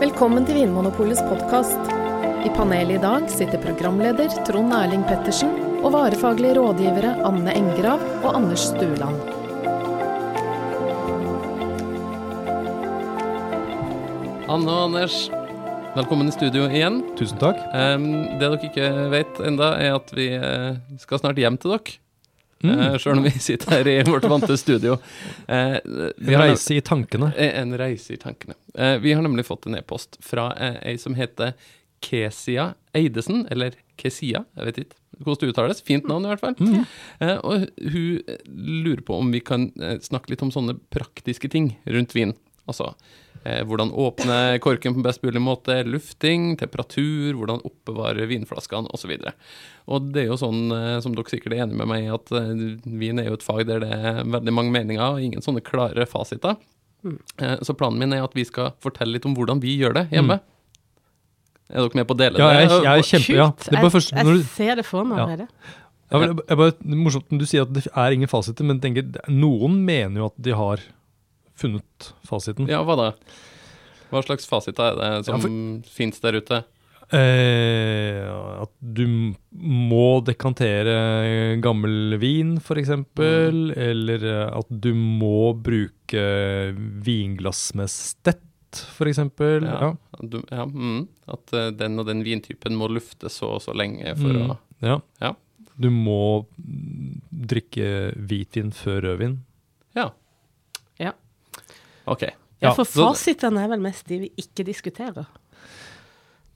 Velkommen til Vinmonopolets podkast. I panelet i dag sitter programleder Trond Erling Pettersen og varefaglige rådgivere Anne Engrav og Anders Stueland. Anne og Anders, velkommen i studio igjen. Tusen takk. Em, det dere ikke vet enda, er at vi eh, skal snart hjem til dere. Eh, Sjøl om vi sitter her i vårt vante studio. Eh, vi En har reise i tankene. nem- eh, en reise i tankene. Eh, vi har nemlig fått en e-post fra eh, ei som heter Kesia Eidesen, eller Kesia, jeg vet ikke hvordan det uttales. Fint navn, i hvert fall. Eh, og hun eh, lurer på om vi kan eh, snakke litt om sånne praktiske ting rundt vin. Altså eh, hvordan åpne korken på best mulig måte, lufting, temperatur, hvordan oppbevare vinflaskene osv. Og, så og det er jo sånn, eh, som dere sikkert er enig med meg i, at eh, vin er jo et fag der det er veldig mange meninger og ingen sånne klare fasiter. Mm. Eh, Så planen min er at vi skal fortelle litt om hvordan vi gjør det hjemme. Er dere med på å dele Mm. Ja, det? jeg, jeg er kjempe... Ja. Det er bare først, jeg, når jeg du, ser det for meg Ja. allerede. ja, vel, jeg bare, det er morsomt når du sier at det er ingen fasiter, men tenker, noen mener jo at de har funnet fasiten. Ja, hva da? Hva slags fasiter er det som Ja, for- finnes der ute? Eh, at du m- må dekantere gammel vin, for eksempel, Mm. eller eh, at du må bruke vinglass med stett, for eksempel. Ja. Ja. Du, ja, mm, at eh, den og den vintypen må lufte så og så lenge for Mm. å Ja. Ja. Du må mm, drikke hvitvin før rødvin. Ja. Ja. OK. Ja, Ja, for så- fasitene er vel mest de vi ikke diskuterer.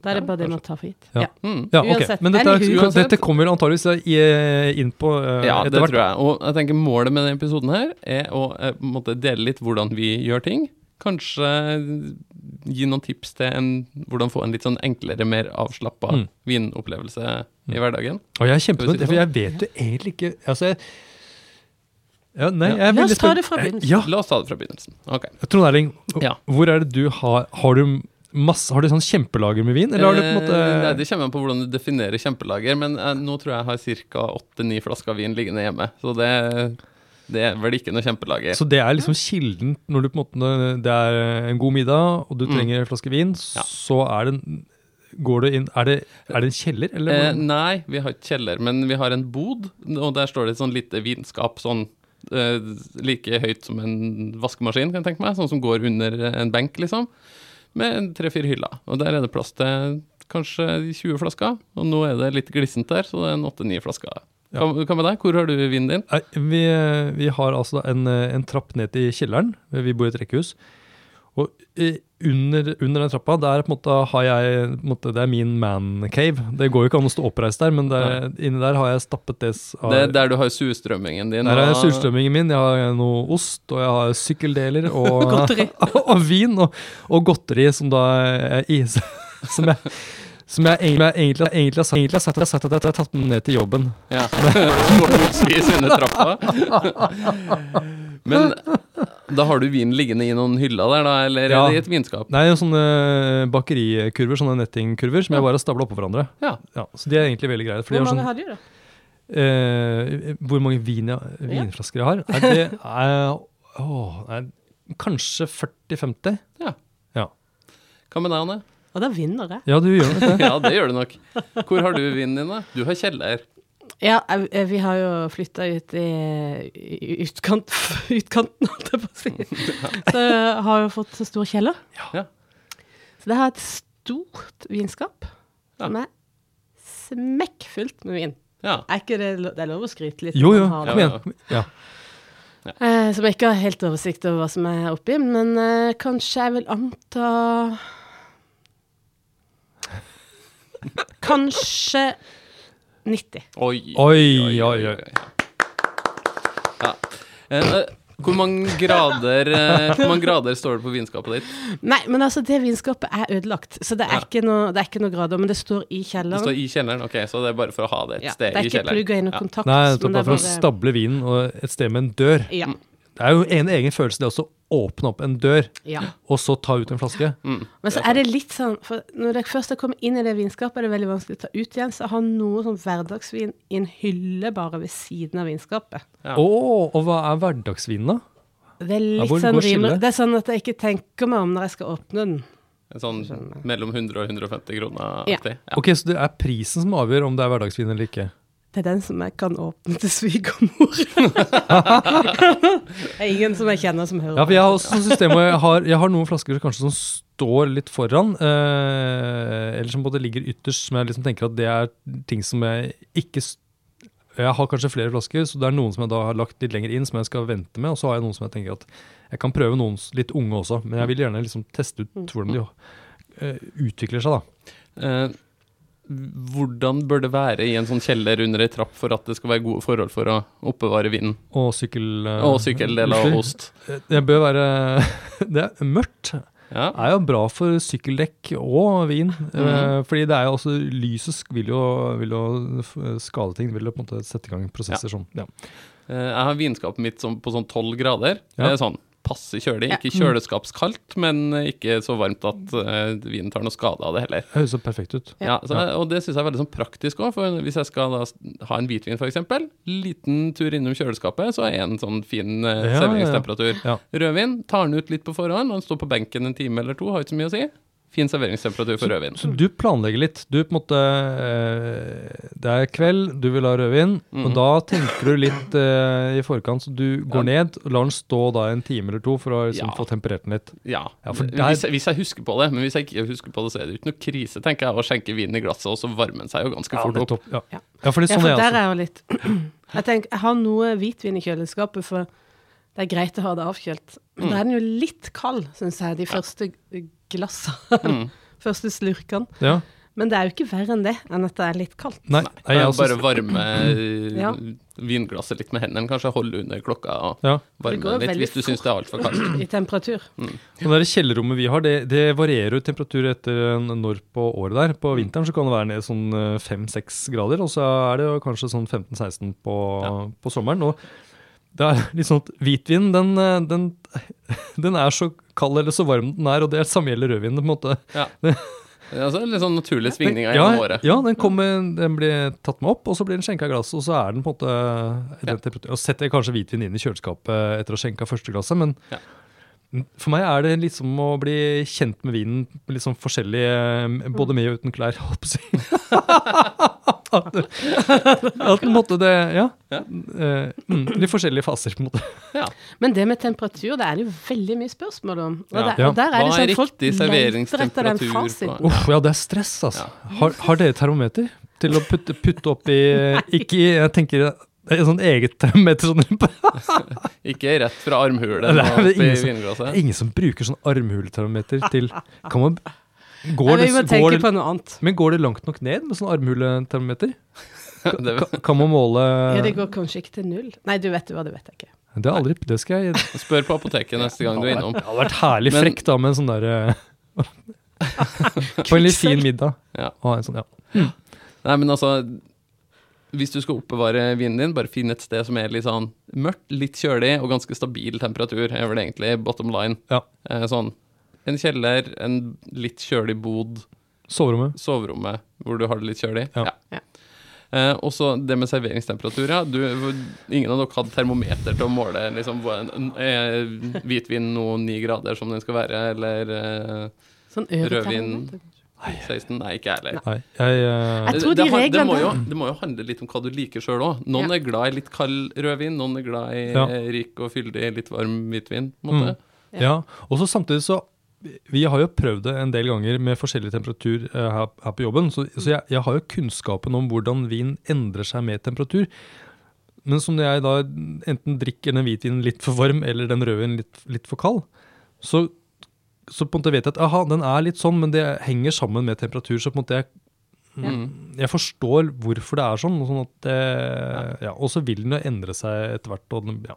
Da er det Ja, bare det kanskje. man tar for gitt. Ja. Ja. Mm. Ja, ok. Uansett. Men dette, Anywho. er, Uansett. dette kommer vel antageligvis eh, i- inn på eh, Ja, det etter hvert. tror jeg. Og jeg tenker målet med denne episoden her er å eh, på en måte dele litt hvordan vi gjør ting. Kanskje gi noen tips til en, hvordan få en litt sånn enklere, mer avslappa Mm. vinopplevelse Mm. i hverdagen. Og jeg er kjempespent, Skal vi si det sånn? for jeg vet jo egentlig ikke altså, jeg, ja, nei, Ja. jeg er La veldig oss ta spent. det fra begynnelsen. Ja, La oss ta det fra begynnelsen. Ok. Trond Erling, Ja. hvor er det du har Har du masse, har du sånn kjempelager med vin, eller har du på en måte Eh, Nei, det kommer an på hvordan du definerer kjempelager, men eh, nå tror jeg jeg har ca. åtte-ni flasker vin liggende hjemme, så det, det er vel ikke noe kjempelager. Så det er liksom kilden når du på en måte Det er eh, en god middag, og du Mm. trenger en flaske vin, Ja. så er det en Går det inn Er det, er det en kjeller, eller? Eh, hvordan- nei, vi har ikke kjeller, men vi har en bod, og der står det et sånn lite vinskap sånn eh, like høyt som en vaskemaskin, kan jeg tenke meg, sånn som går under en benk, liksom, med tre-fire hyller. Og der er det plass til kanskje 20 flasker, og nå er det litt glissent der, så det er en åtte-ni flasker. Ja. Hva hva med deg? Hvor har du vinen din? Nei, vi, vi har altså en, en trapp ned til kjelleren. Vi bor i et rekkehus. Og eh, under, under den trappa der på en måte har jeg på en måte, Det er min man cave. Det går jo ikke an å stå oppreist der, men der, inni der har jeg stappet det s- har, Det er der du har surstrømmingen din. Der er og- surstrømmingen min. Jeg har noe ost, og jeg har sykkeldeler og, Godteri. og vin. Og, og godteri som da er i Som jeg, som jeg, egentlig- egentlig, egentlig, har sagt- egentlig har sagt at jeg har sagt at jeg har tatt med ned til jobben. Ja. Fortrinnsvis under trappa. Men da har du vin liggende i noen hyller der, da, eller Ja. er det i et vinskap? Nei, sånne bakerikurver, sånne nettingkurver, som jeg bare har stabla oppå hverandre. Ja. Ja, så de er egentlig veldig greie. For de Hvor har mange sånn, har du, da? eh, hvor mange vin jeg, vinflasker jeg har? Nei, det er, åh, nei, kanskje 40-50? Ja. Ja. Hva med deg, Anne? Og da vinner jeg. ja, du gjør nok det. Ja, det gjør du nok. Hvor har du vinen din, da? Du har kjeller. Ja, jeg- jeg- vi har jo flytta ut i, i utkant, utkanten, holdt jeg på å si. Så jeg har jo fått så stor kjeller. Ja. Så det har et stort vinskap Ja. som er smekkfullt med vin. Ja. Er ikke det, lo- det er lov å skryte litt? Jo, når jo, man har det. kom igjen. kom igjen. Ja. Eh, som jeg ikke har helt oversikt over hva som er oppi, men eh, kanskje jeg vil anta Kanskje 90. Oi, Oi, oi, oi. Ja. Eh, eh, Hvor mange grader, eh, hvor mange grader står det på vinskapet ditt? Nei, men altså, det vinskapet er ødelagt, så det er, Ja. ikke, noe, det er ikke noe grader. Men det står i Det kjelleren. står i kjelleren, ok, så det er bare for å ha det et ja, det sted er i ikke kjelleren. plugga inn noe Ja. kontakt. Nei, men det er bare for å stable vinen og et sted med en dør. Ja. Det er jo en egen følelse, det også. å Åpne opp en dør, ja. og så ta ut en flaske. Men så er det litt sånn, for når dere først har kommet inn i det vinskapet, er det veldig vanskelig å ta ut igjen. Så jeg har noe sånn hverdagsvin i en hylle bare ved siden av vinskapet. Ja. Å, og hva er hverdagsvinen, da? Det er hvor litt går sånn skillet? rimelig Det er sånn at jeg ikke tenker meg om når jeg skal åpne den. En sånn Skjønner. mellom 100 og 150 kroner Ja. aktig. Ja. Ok, Så det er prisen som avgjør om det er hverdagsvin eller ikke? Det er den som jeg kan åpne til svigermor. det er ingen som jeg kjenner som hører Ja, for jeg har også sånn system hvor jeg har, jeg har noen flasker som kanskje som står litt foran, eh, eller som både ligger ytterst, som jeg liksom tenker at det er ting som jeg ikke s- Jeg har kanskje flere flasker, så det er noen som jeg da har lagt litt lenger inn, som jeg skal vente med, og så har jeg noen som jeg tenker at jeg kan prøve noen s- litt unge også, men jeg vil gjerne liksom teste ut hvordan de eh, utvikler seg, da. Eh, hvordan bør det være i en sånn kjeller under ei trapp for at det skal være gode forhold for å oppbevare vinen? Og sykkel... eh, Og sykkeldeler utstyr. og ost. Det bør være Det er mørkt. Ja. er jo bra for sykkeldekk og vin. eh, Fordi det er jo også lyset sk- vil jo, vil jo f- skade ting. Vil jo på en måte sette i gang prosesser sånn. Ja. Eh, Jeg har vinskapet mitt som, på sånn 12 grader. Ja. Det er sånn passe kjølig. Ja. Ikke kjøleskapskaldt, men ikke så varmt at eh, vinen tar noe skade av det heller. Det høres jo perfekt ut. Ja, så, Og det syns jeg er veldig sånn praktisk òg, for hvis jeg skal da s- ha en hvitvin f.eks., liten tur innom kjøleskapet, så er en sånn fin eh, Ja, ja, ja. serveringstemperatur. Ja. Rødvin tar den ut litt på forhånd, og den står på benken en time eller to, har ikke så mye å si. Fin serveringstemperatur for rødvin. Så du planlegger litt. Du på en måte eh, Det er kveld, du vil ha rødvin. Og da tenker du litt eh, i forkant, så du går ned og lar den stå da en time eller to for å liksom, Ja. få temperert den litt. Ja, Ja, for der- hvis, jeg, hvis jeg husker på det. Men hvis jeg ikke husker på det, så er det jo ikke noe krise, tenker jeg, å skjenke vinen i glasset, og så varmer den seg jo ganske fort opp. Nettopp, ja. Ja. ja, for det er Ja, sånn for jeg der også. er jo litt Jeg tenker, jeg har noe hvitvin i kjøleskapet, for det er greit å ha det avkjølt. Men da er den jo litt kald, syns jeg, de første glassene. Mm. Første slurkene. Ja. Men det er jo ikke verre enn det, enn at det er litt kaldt. Nei, nei, jeg Jeg også- bare varme eh, Ja. vinglasset litt med hendene, kanskje holde under klokka og ja. varme Det går den litt veldig hvis du syns det er altfor kaldt. I temperatur. Og Det der kjellerrommet vi har, det, det varierer jo temperatur etter en- når på året der. På vinteren så kan det være ned sånn eh, 5-6 grader, og så er det jo kanskje sånn 15-16 på, på sommeren. Og det er litt sånn at hvitvin, den, eh, den, den er så kald eller så varm den er, og det er samme gjelder rødvin, på en måte. Ja. Det er altså litt sånn naturlige svingninger ja, gjennom året. ja, den, kommer, den blir tatt med opp, og så blir den skjenka i glasset, og så er den på en måte i den temperaturen. Og setter jeg kanskje hvitvin inn i kjøleskapet etter å ha skjenka første glasset, men Ja. for meg er det liksom å bli kjent med vinen på litt sånn forskjellig, eh, både med og uten klær, holdt på å si. At at på en måte det Ja. Ja. eh, mm, Litt forskjellige faser, på en måte. Ja. Men det med temperatur, det er det jo veldig mye spørsmål om. Og, Ja. der, og der er Hva er liksom folk riktig leter etter den serveringstemperatur fasiten. på- Uff, ja, det er stress, altså. Har, har dere termometer til å putte, putte opp i Ikke i Jeg tenker et sånt eget termometer. Sånn, det Ikke rett fra armhulen Nei, det er og opp i ingen som- er vinglasset. ingen som bruker sånn armhuletermometer til kan man, Nei, går det, vi må går tenke det, på noe annet. Men går det langt nok ned med sånn armhuletermometer? Det er- Kan, kan man måle Ja, det det, går kanskje ikke til null. Nei, du vet jo hva, det vet jeg ikke. er aldri, det skal jeg Det Spør på apoteket neste gang du er innom. hadde vært herlig Men- frekt da med en sånn derre På en litt fin middag. Ja. Og ha en sånn, ja. Nei, men altså Hvis du skal oppbevare vinen din, bare finn et sted som er litt sånn mørkt, litt kjølig og ganske stabil temperatur, er vel egentlig bottom line. Ja. Eh, sånn en kjeller, en litt kjølig bod, Soverommet. soverommet hvor du har det litt kjølig. Ja. Ja. Eh, og så det med serveringstemperatur. Ja. Du, ingen av dere hadde termometer til å måle liksom, hva en- eh, hvitvin nå ni grader som den skal være, eller eh, Sånn øvrig Rødvin. termometer. 16? Nei, ikke jeg heller. Nei, jeg eh, Jeg tror de det, han- det, reglene må jo, der- det må jo handle litt om hva du liker sjøl òg. Noen Ja. er glad i litt kald rødvin, noen er glad i Ja. Mm. eh, rik og fyldig, litt varm hvitvin. På en måte. Ja. Ja, og så samtidig så Vi har jo prøvd det en del ganger med forskjellig temperatur eh, her, her på jobben, så, så jeg, jeg har jo kunnskapen om hvordan vin endrer seg med temperatur. Men som når jeg da enten drikker den hvitvinen litt for varm eller den rødvinen litt, litt for kald, så, så på en måte vet jeg at aha, den er litt sånn, men det henger sammen med temperatur. Så på en måte jeg, Mm. jeg forstår hvorfor det er sånn. Og sånn at eh, ja, og så vil den jo endre seg etter hvert. Og den, ja.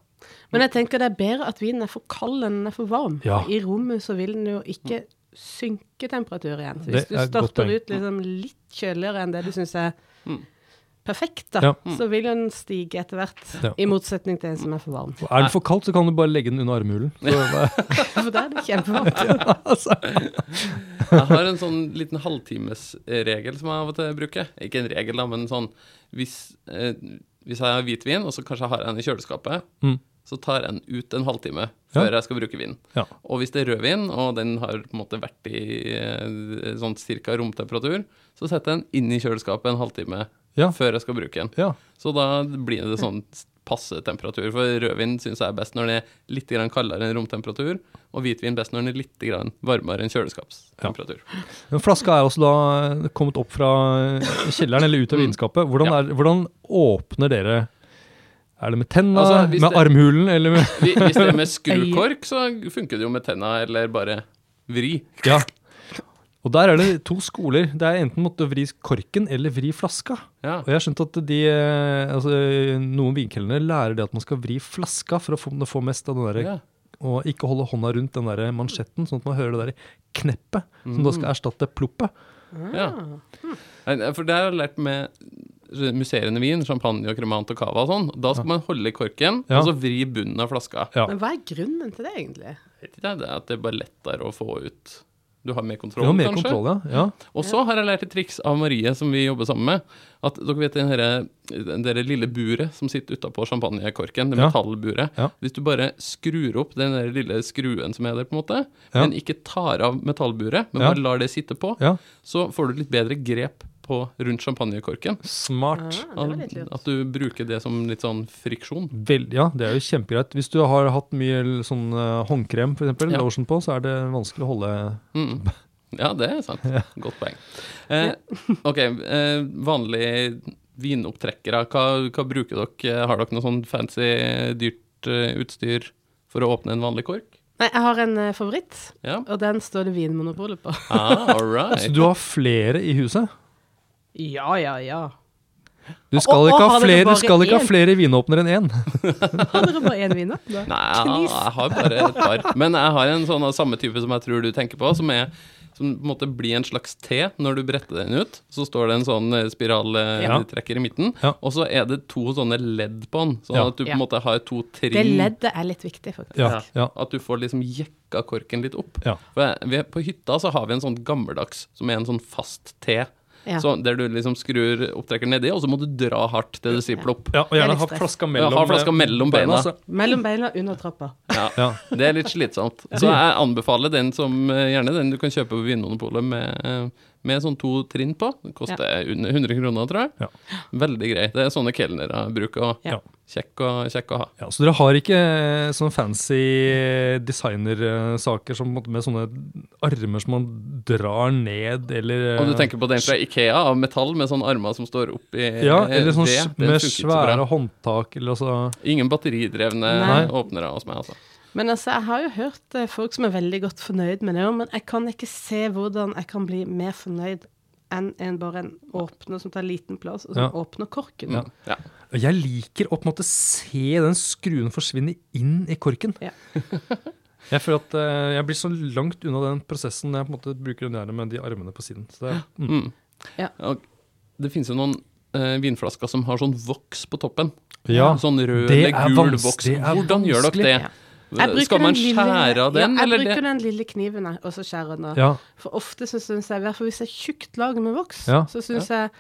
Men jeg tenker det er bedre at vinen er for kald enn den er for varm. Ja. I rommet så vil den jo ikke synke temperatur igjen. Så Det hvis du er et godt starter poeng. ut liksom litt kjøligere enn det du syns er Mm. perfekt, Ja. da, så vil jo den stige etter hvert. Ja. I motsetning til en som er for varm. Og er den for kaldt, så kan du bare legge den under armhulen. Altså. Så, For da er det kjempevarmt. Jeg har en sånn liten halvtimesregel som jeg av og til bruker. Ikke en regel, da, men sånn hvis, eh, hvis jeg har hvitvin, og så kanskje jeg har en i kjøleskapet, Mm. så tar jeg den ut en halvtime før Ja. jeg skal bruke vinen. Ja. Og hvis det er rødvin, og den har på en måte vært i eh, sånn cirka romtemperatur, så setter jeg den inn i kjøleskapet en halvtime Ja. før jeg skal bruke den. Ja. Så da blir det sånn passe temperatur. For rødvin syns jeg er best når den er litt grann kaldere enn romtemperatur, og hvitvin best når den er litt grann varmere enn kjøleskapstemperatur. Men flaska er også da eh, kommet opp fra eh, kjelleren eller ut av vinskapet. Hvordan, Mm. Ja. er, hvordan åpner dere? Er det med tenna, Altså, hvis med det- armhulen eller med Hvis hvis det er med skrukork, så funker det jo med tenna eller bare vri. Ja. Og der er det to skoler. Det er enten måtte vri korken eller vri flaska. Ja. Og jeg har skjønt at de, eh, altså, noen vinkelnere lærer det at man skal vri flaska for å få, få mest av den der, Ja. og ikke holde hånda rundt den der mansjetten, sånn at man hører det der kneppet, som Mm. da skal erstatte ploppet. ja. Nei, nei, For det har jeg lært med musserende vin, champagne og kremant og cava og sånn. Da skal man holde i korken, Ja. og så vri bunnen av flaska. Ja. Men hva er grunnen til det, egentlig? Vet ikke jeg, det er at det er bare lettere å få ut Du har mer Du kontroll, har mer kanskje? kontroll, ja. ja. Og så har jeg lært et triks av Marie, som vi jobber sammen med. At dere vet den herre- den derre lille buret som sitter utapå champagnekorken, det Ja. metallburet. Ja. Hvis du bare skrur opp den der lille skruen som er der, på en måte, Ja. men ikke tar av metallburet, men Ja. bare lar det sitte på, ja. så får du litt bedre grep på rundt champagnekorken. Smart. Ah, det var litt lurt. At du bruker det som litt sånn friksjon. Vel, ja, det er jo kjempegreit. Hvis du har hatt mye l- sånn eh, håndkrem for eksempel, Ja. lotion på, så er det vanskelig å holde Mm. Ja, det er sant. Godt poeng. Eh, ok, eh, vanlige vinopptrekkere, hva, hva bruker dere? Har dere noe sånn fancy, dyrt eh, utstyr for å åpne en vanlig kork? Nei, jeg har en eh, favoritt, Ja. og den står det Vinmonopolet på. Ah, all Så right. du har flere i huset? Ja, ja, ja. Du skal Å, å, ikke ha har dere flere, du bare skal ikke én? ha flere vinåpnere enn én. Har dere bare én viner? Nei, jeg- jeg har bare et par. Men jeg har en sånn av samme type som jeg tror du tenker på, som er som på en måte blir en slags T når du bretter den ut. Så står det en sånn eh, Ja. spiraltrekker i midten, Ja. og så er det to sånne ledd på den, sånn Ja. at du på Ja. en måte har to trinn. Det leddet er litt viktig, faktisk. Ja, ja. At du får liksom jekka korken litt opp. Ja. For jeg- vi, på hytta så har vi en sånn gammeldags som er en sånn fast T. Ja. Så der du liksom skrur opptrekkeren nedi, og så må du dra hardt til det sier plopp. Ja, og Det er gjerne litt ha stress. flaska Ja, mellom, ha flaska mellom beina. så- Mellom beina, under trappa. Ja, Ja. det er litt slitsomt. Så jeg anbefaler den som eh, gjerne den du kan kjøpe på Vinmonopolet med, eh, med sånn to trinn på. Det koster under 100 kroner, tror jeg. Ja. Veldig grei. Det er sånne kelnere bruker. og Ja. Kjekk, å- kjekk å ha. Ja, så dere har ikke eh, sånne fancy eh, designersaker som på en måte med sånne armer som man drar ned, eller eh, Og du tenker på den fra Ikea, av metall med sånne armer som står opp i Ja, eller sånn det, s- den med funker ikke så bra. svære håndtak, eller altså Ingen batteridrevne Nei. åpnere hos meg, altså. Men altså, jeg har jo hørt eh, folk som er veldig godt fornøyd med det òg, men jeg kan ikke se hvordan jeg kan bli mer fornøyd enn en bare en åpner som tar liten plass, og som Ja. åpner korken. Ja. Ja. Og Jeg liker å på en måte se den skruen forsvinne inn i korken. Ja. jeg føler at eh, jeg blir så langt unna den prosessen når jeg på en måte bruker den der med de armene på siden. Så det er, mm. Mm. Ja. Og det finnes jo noen eh, vinflasker som har sånn voks på toppen. Ja, sånn rød det eller er gul vans- voks. det er Hvordan gjør dere det? vanskelig. Jeg bruker Skal man den lille- skjære av den, ja, eller Jeg det? bruker den lille kniven, jeg, og så skjærer den av. ja, For ofte så syns jeg, i hvert fall hvis det er tjukt lag med voks, Ja. så syns jeg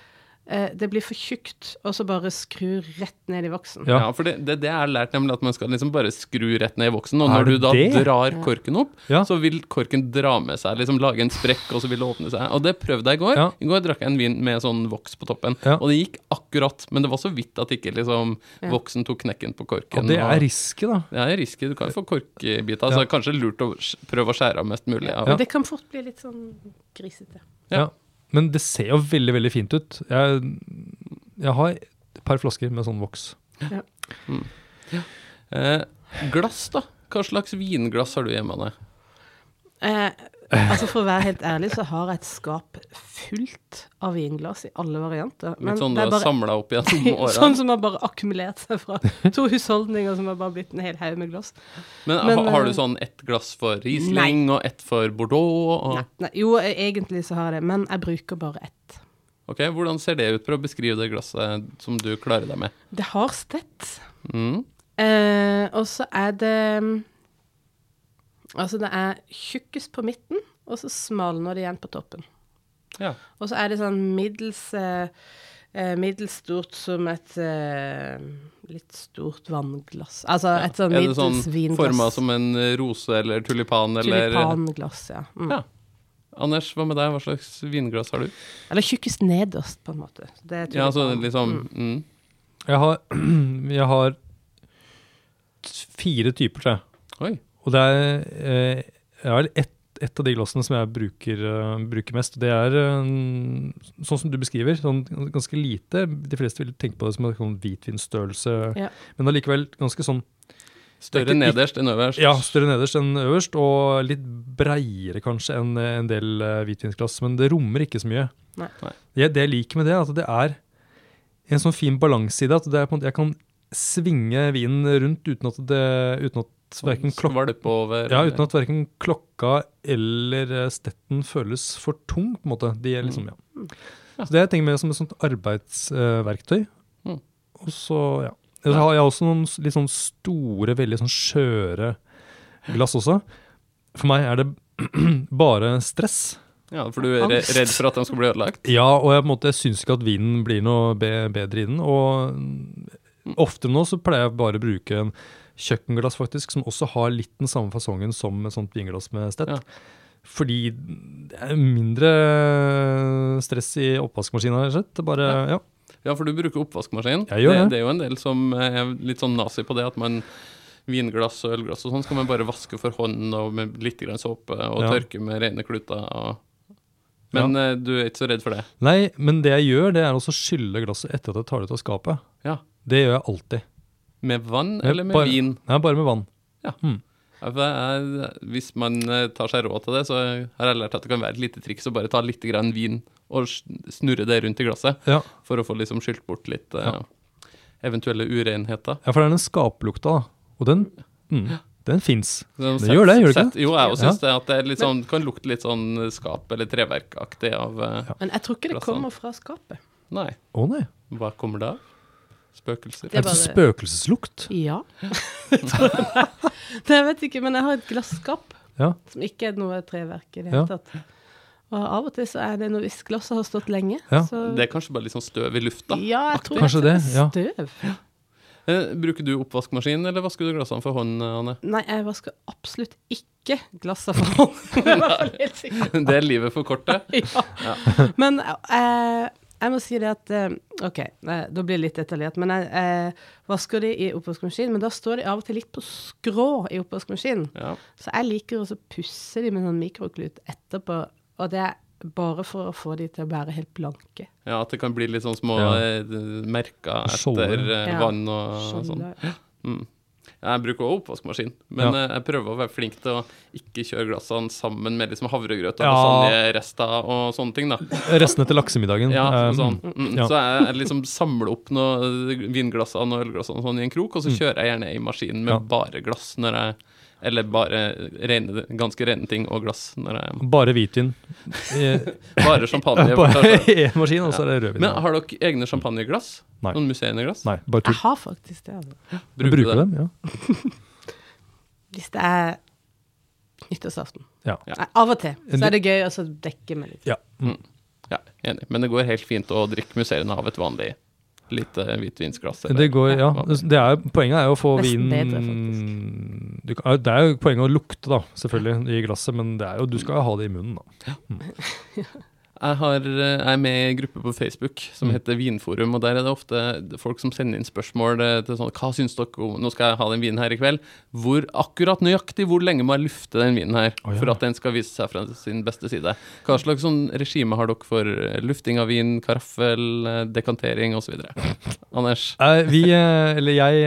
eh, det blir for tjukt, og så bare skru rett ned i voksen. Ja. Ja, for det, det, det jeg har lært, nemlig at man skal liksom bare skru rett ned i voksen. Og Er når du det da det? drar korken opp, Ja. så vil korken dra med seg, liksom lage en sprekk, og så vil det åpne seg. Og det prøvde jeg i går. Ja. I går drakk jeg en vin med sånn voks på toppen, Ja. og det gikk akkurat. Men det var så vidt at ikke liksom voksen tok knekken på korken. og det og- er risky, da. Ja, jeg risker. Du kan jo få korkbiter. Så Ja. det er kanskje lurt å sk- prøve å skjære av mest mulig. av- Men det kan fort bli litt sånn grisete. Ja. Ja. Men det ser jo veldig, veldig fint ut. Jeg, jeg har et par flasker med sånn voks. Eh, glass, da? Hva slags vinglass har du hjemme? Anne? Eh, altså For å være helt ærlig, så har jeg et skap fullt av vinglass i alle varianter. Litt sånn du det har er bare samla opp gjennom åra. sånn som har bare akkumulert seg fra to husholdninger som har bare blitt en hel haug med glass. men ha- men, har eh, du sånn ett glass for Riesling og ett for Bordeaux? Og, Nei, nei, jo, eh, egentlig så har jeg det, men jeg bruker bare ett. Ok, Hvordan ser det ut? Prøv å beskrive det glasset som du klarer deg med. Det har stett. Mm. Eh, og så er det mm, Altså, det er tjukkest på midten, og så smalner det igjen på toppen. Ja. Og så er det sånn middels eh, eh, middels stort som et eh, litt stort vannglass. Altså Ja. et sånn er det middels sånn vinglass. forma som en rose eller tulipan eller Tulipanglass, ja. Mm. Ja. Anders, hva med deg? Hva slags vinglass har du? Eller tjukkest nederst, på en måte. Det er Ja, altså tulipan. liksom Mm. mm. Jeg har, jeg har t- fire typer, tror jeg. Oi. Og det er eh, jeg har ett et av de glassene som jeg bruker, eh, bruker mest. Det er eh, sånn som du beskriver, sånn ganske lite. De fleste vil tenke på det som en sånn hvitvinstørrelse, Ja. men allikevel ganske sånn Større ikke- nederst enn øverst. ja, større nederst enn øverst, og litt breiere kanskje enn eh, en del eh, hvitvinsglass. Men det rommer ikke så mye. Nei. Nei. Jeg, det jeg liker med det, er at det er en sånn fin balanse i det. At det er på en måte, jeg kan svinge vinen rundt uten at, det, uten at verken klokka Skvalpe over. ja, uten at verken klokka eller eh, stetten føles for tung, på en måte. De er liksom, ja. Ja. Så det jeg tenker med som et sånt arbeidsverktøy. Mm. Og så, ja. Ellers har jeg også noen s- litt sånn store, veldig sånn skjøre glass også. For meg er det bare stress. Ja, for du er re- Angst. redd for at de skal bli ødelagt? Ja, og jeg på en måte syns ikke at vinen blir noe be bedre i den. Og mm, oftere nå så pleier jeg bare å bruke en kjøkkenglass faktisk, som også har litt den samme fasongen som et sånt vinglass med stett. Ja. Fordi det er mindre stress i oppvaskmaskina, rett og slett. Det Bare, ja. Ja, for du bruker oppvaskmaskin. Jeg gjør det, det. det er jo en del som er litt sånn nazi på det at man Vinglass og ølglass og sånn skal man bare vaske for hånd og med litt grann såpe og Ja. tørke med rene kluter. Og... Men eh, du er ikke så redd for det? Nei, men det jeg gjør, det er også å skylle glasset etter at jeg tar det ut av skapet. Ja. Det gjør jeg alltid. Med vann Jeg eller med bare, vin? Nei, bare med vann. Ja, for jeg, jeg- hvis man eh, tar seg råd til det, så har jeg lært at det kan være et lite triks å bare ta litt grann vin og s- snurre det rundt i glasset, Ja, for å få liksom skylt bort litt eh, Ja. eventuelle urenheter. ja for det er den skaplukta, da. Og den, mm, den fins. Så Det gjør det, gjør det ikke? sett- Jo, jeg også Ja. syns det. At det er litt sånn, kan lukte litt sånn skap- eller treverkaktig av eh, Ja. Men jeg tror ikke det Glassene. kommer fra skapet. Nei, Å nei. hva kommer det av? Spøkelser? Det er er det bare- spøkelseslukt? Ja. Jeg tror det. det jeg vet ikke, men jeg har et glasskap Ja. som ikke er noe treverk i det Ja. hele tatt. Og av og til så er det noe hvis glasset har stått lenge. Ja. Så, Det er kanskje bare litt sånn støv i lufta. ja, jeg tror Kanskje det er det, ja. støv. Eh, bruker du oppvaskmaskin, eller vasker du glassene for hånd, Anne? Nei, jeg vasker absolutt ikke glasset for hånd. Jeg er i hvert fall helt sikker. Det er livet for kort, det. ja. Men eh, jeg må si det at eh, OK, nei, da blir det litt detaljert. Men jeg eh, vasker de i oppvaskmaskinen, men da står de av og til litt på skrå i oppvaskmaskinen. Ja. Så jeg liker også å pusse de med sånn mikroklut etterpå, og det er bare for å få de til å være helt blanke. Ja, at det kan bli litt sånn små Ja. eh, merker etter Skjolder. eh, Ja. vann og sånn. Skjønner du? Mm. Jeg bruker også oppvaskmaskin, men Ja. eh, jeg prøver å være flink til å ikke kjøre glassene sammen med liksom havregrøt og Ja. lasagnerester og sånne ting. da. Restene til laksemiddagen. Ja, eh, sånn. mm, Mm. ja. Så jeg, jeg liksom samler opp noe, eh, vinglassene og ølglassene og sånn i en krok, og så kjører jeg gjerne i maskinen med Mm. Ja. bare glass når jeg Eller bare rene, ganske rene ting og glass når jeg Bare hvitvin. I- Bare champagne. jeg får ta Bare selv. én maskin, og så er det altså. rødvin. Men har dere egne champagneglass? Nei. Noen museeglass? Nei, bare tull. Jeg har faktisk det. Altså. Bruker, Bruker det? dem, ja. Hvis det er nyttårsaften. Ja. Ja. Nei, av og til. Så er det gøy å så dekke med litt. ja. Mm. Ja, enig. Men det går helt fint å drikke museene av et vanlig lite hvitvinsglass. eller- Det går, ja. hva- Det er, poenget er jo å få Nesten bedre, vinen du, kan- Det er jo poenget å lukte, da, selvfølgelig, i glasset, men det er jo, du skal jo ha det i munnen, da. Jeg, har, eh, jeg er med i en gruppe på Facebook som Mm. heter Vinforum, og der er det ofte folk som sender inn spørsmål eh, til sånn Hva syns dere om Nå skal jeg ha den vinen her i kveld. Hvor akkurat nøyaktig hvor lenge må jeg lufte den vinen her Å, ja. for at den skal vise seg fra sin beste side? Hva slags sånn regime har dere for eh, lufting av vin, karaffel, eh, dekantering osv.? Anders? Eh, Vi, eh, eller jeg,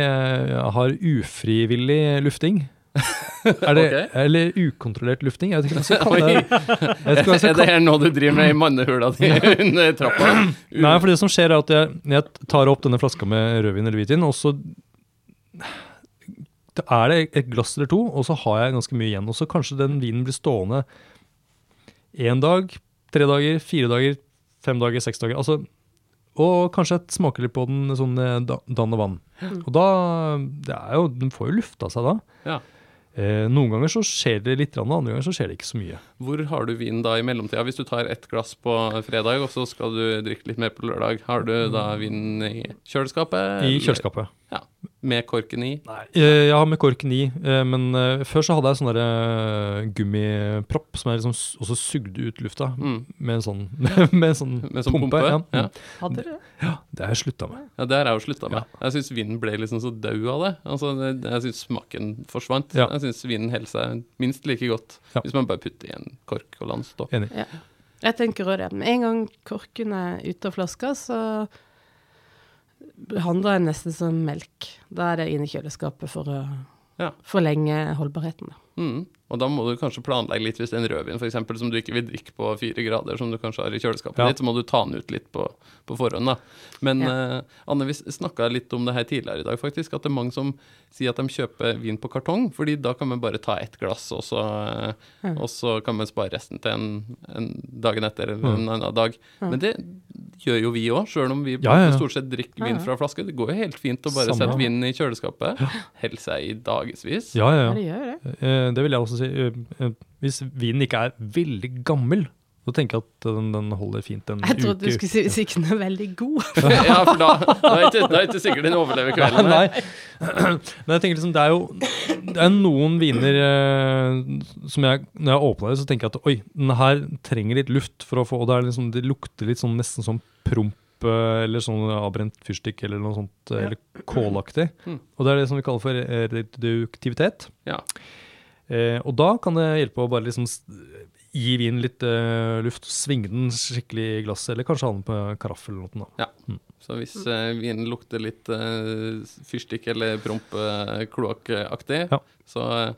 eh, har ufrivillig lufting. Er det, Ok. Eller ukontrollert lufting? Jeg vet ikke hva jeg skal kalle det. Jeg vet ikke hva jeg skal Er det her noe du driver med i mannehula di under trappa? Nei, for det som skjer er at jeg, jeg tar opp denne flaska med rødvin eller hvitvin, og så da er det et glass eller to, og så har jeg ganske mye igjen. Og så kanskje den vinen blir stående én dag, tre dager, fire dager, fem dager, seks dager. Altså, og kanskje jeg smaker litt på den Mm. sånn eh, da- dann og vann. Og da det er jo, Den får jo lufta seg da. Ja. Eh, noen ganger så skjer det litt, grann, og andre ganger så skjer det ikke så mye. Hvor har du vin da i mellomtida? Hvis du tar ett glass på fredag, og så skal du drikke litt mer på lørdag, har du da vin i kjøleskapet? I kjøleskapet. Med korken i? Eh, ja, med korken i. Eh, men eh, før så hadde jeg sånn der eh, gummipropp som jeg liksom s- også sugde ut lufta Mm. med en sånn, med en sånn, Med sånn pumpe? pumpe. ja. Ja. Hadde du det? Det har jeg slutta med. Ja, det har jeg jo slutta med. Jeg syns vinen ble liksom så død av det. Altså, det- jeg syns smaken forsvant. Ja. Jeg syns vinen holder seg minst like godt Ja. hvis man bare putter i en kork og lar den stå. Enig. Jeg tenker òg det. Med en gang korken er ute av flaska, så behandler jeg den nesten som melk. Da er det inn i kjøleskapet for å Ja. forlenge holdbarheten. da. Mm. Og da må du kanskje planlegge litt hvis det er en rødvin for eksempel, som du ikke vil drikke på fire grader, som du kanskje har i kjøleskapet Ja. ditt, så må du ta den ut litt på, på forhånd. da. Men eh, Anne, vi snakka litt om det her tidligere i dag, faktisk, at det er mange som sier at de kjøper vin på kartong, fordi da kan man bare ta ett glass, og så, eh, Mm. og så kan man spare resten til en, en dagen etter eller en annen dag. Men det gjør jo vi òg, sjøl om vi Ja, ja, ja. stort sett drikker Ja, vin ja. fra flaske. Det går jo helt fint å bare Samme. sette vinen i kjøleskapet, helle seg i dagevis. Ja, ja, Ja, ja. det gjør jo Eh, det. det vil jeg også si. Eh, eh, hvis vinen ikke er veldig gammel, så tenker jeg at den, den holder fint en Jeg uke. trodde du skulle si hvis ikke den er veldig god. ja, for da, da, er ikke, da er ikke sikkert den overlever kvelden. Nei. Men jeg tenker liksom, det er jo det er noen viner eh, som jeg, når jeg åpner det, så tenker jeg at oi, den her trenger litt luft for å få Og det, er liksom, det lukter litt sånn nesten som promp eh, eller sånn avbrent fyrstikk eller noe sånt, eh, eller kålaktig. Mm. Og det er det som vi kaller for eh, reduktivitet. Ja. Eh, og da kan det hjelpe å bare liksom s- gi vinen litt eh, luft, svinge den skikkelig i glasset, eller kanskje ha den på karaffel eller noe. Da. Så hvis eh, vinen lukter litt eh, fyrstikk eller promp eh, kloakkaktig, Ja. så eh,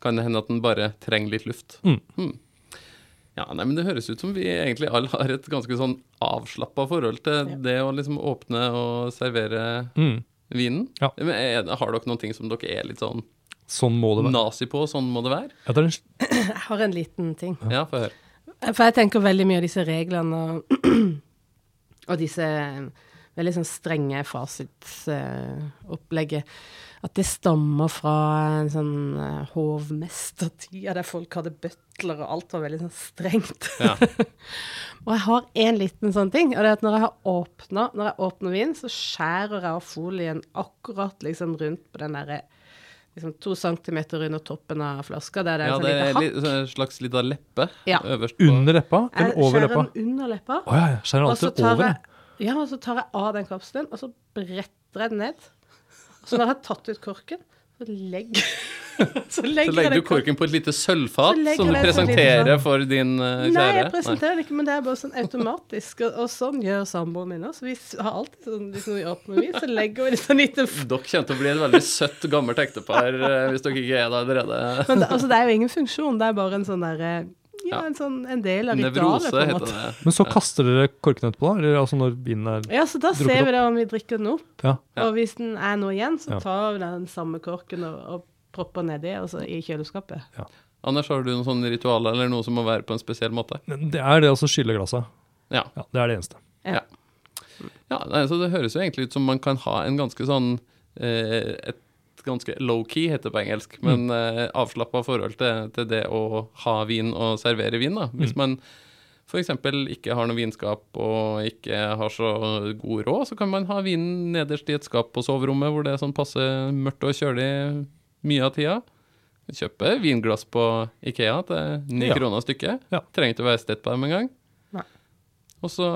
kan det hende at den bare trenger litt luft. Hm. Mm. Ja, nei, men Det høres ut som vi egentlig alle har et ganske sånn avslappa forhold til det å liksom åpne og servere Mm. vinen. Ja. Men er, har dere noen ting som dere er litt sånn Sånn må det være. nazi på? Sånn må det være? Ja, det er en Jeg har en liten ting. Ja, få høre. For jeg tenker veldig mye av disse reglene og, og disse veldig sånn strenge fasitsopplegget. eh, At det stammer fra en sånn eh, hovmestertid der folk hadde butler, og alt var veldig sånn strengt. Ja. og jeg har en liten sånn ting, og det er at når jeg har åpna, når jeg åpner vin, så skjærer jeg av folien akkurat liksom rundt på den derre liksom to centimeter under toppen av flaska, der det er Ja, en sånn det liten er hakk. litt, en slags lita leppe Ja. øverst på Under leppa Jeg eller over leppa? skjærer den under leppa. Å ja, ja. Skjærer den Og så alltid tar over? ja. jeg, ja, og så tar jeg av den kapselen, og så bretter jeg den ned. Og så når jeg har tatt ut korken, så legger, så Så legger, jeg legger den du korken på et lite sølvfat Så legger som du jeg den på et lite presenterer sånn- for din eh, kjære. Nei, jeg presenterer det ikke, men det er bare sånn automatisk. Og, og sånn gjør samboeren min også. Vi s- har alltid sånn hvis vi åpner vin, så legger vi det sånn lite f- Nei. Dere kommer til å bli et veldig søtt, gammelt ektepar eh, hvis dere ikke er det allerede. Men det, altså, det er jo ingen funksjon, det er bare en sånn derre ja, Ja. en sånn en del av ritualet, Nevrose på en heter måte. det. Men så kaster dere korken etterpå, da? Eller altså når vinen er Ja, så da Drukket ser vi da om vi drikker den opp. Ja. Ja. Og hvis den er noe igjen, så Ja. tar vi den samme korken og, og propper nedi, altså i kjøleskapet. Anders, har du noen sånne ritualer eller noe som må være på en spesiell måte? Det er det altså skylle glasset. Ja. Ja, det er det eneste. ja nei, så det høres jo egentlig ut som man kan ha en ganske sånn eh, et ganske low-key heter det på engelsk, Mm. men eh, avslappa forhold til, til det å ha vin og servere vin. Mm. da. Hvis man f.eks. ikke har noe vinskap og ikke har så god råd, så kan man ha vinen nederst i et skap på soverommet hvor det er sånn passe mørkt og kjølig mye av tida. Kjøpe vinglass på Ikea til ni Ja. kroner stykket. Ja. Trenger ikke å være stett på dem engang. Nei. Og så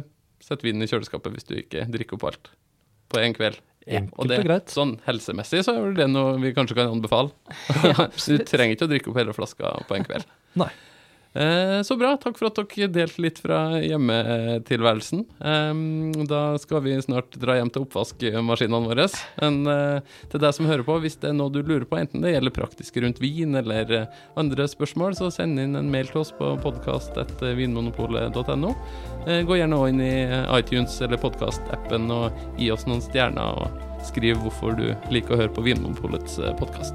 eh, sett vinen i kjøleskapet hvis du ikke drikker opp alt på én kveld. Ja, enkelt det, og greit. Sånn helsemessig så er det noe vi kanskje kan anbefale. du trenger ikke å drikke opp hele flaska på en kveld. Nei. Eh, Så bra. Takk for at dere delte litt fra hjemmetilværelsen. Ehm, Da skal vi snart dra hjem til oppvaskmaskinene våre. Men eh, til deg som hører på, hvis det er noe du lurer på, enten det gjelder praktisk rundt vin eller eh, andre spørsmål, så send inn en mail til oss på podkast.vinmonopolet.no. Eh, Gå gjerne også inn i eh, iTunes eller podkastappen og gi oss noen stjerner, og skriv hvorfor du liker å høre på Vinmonopolets eh, podkast.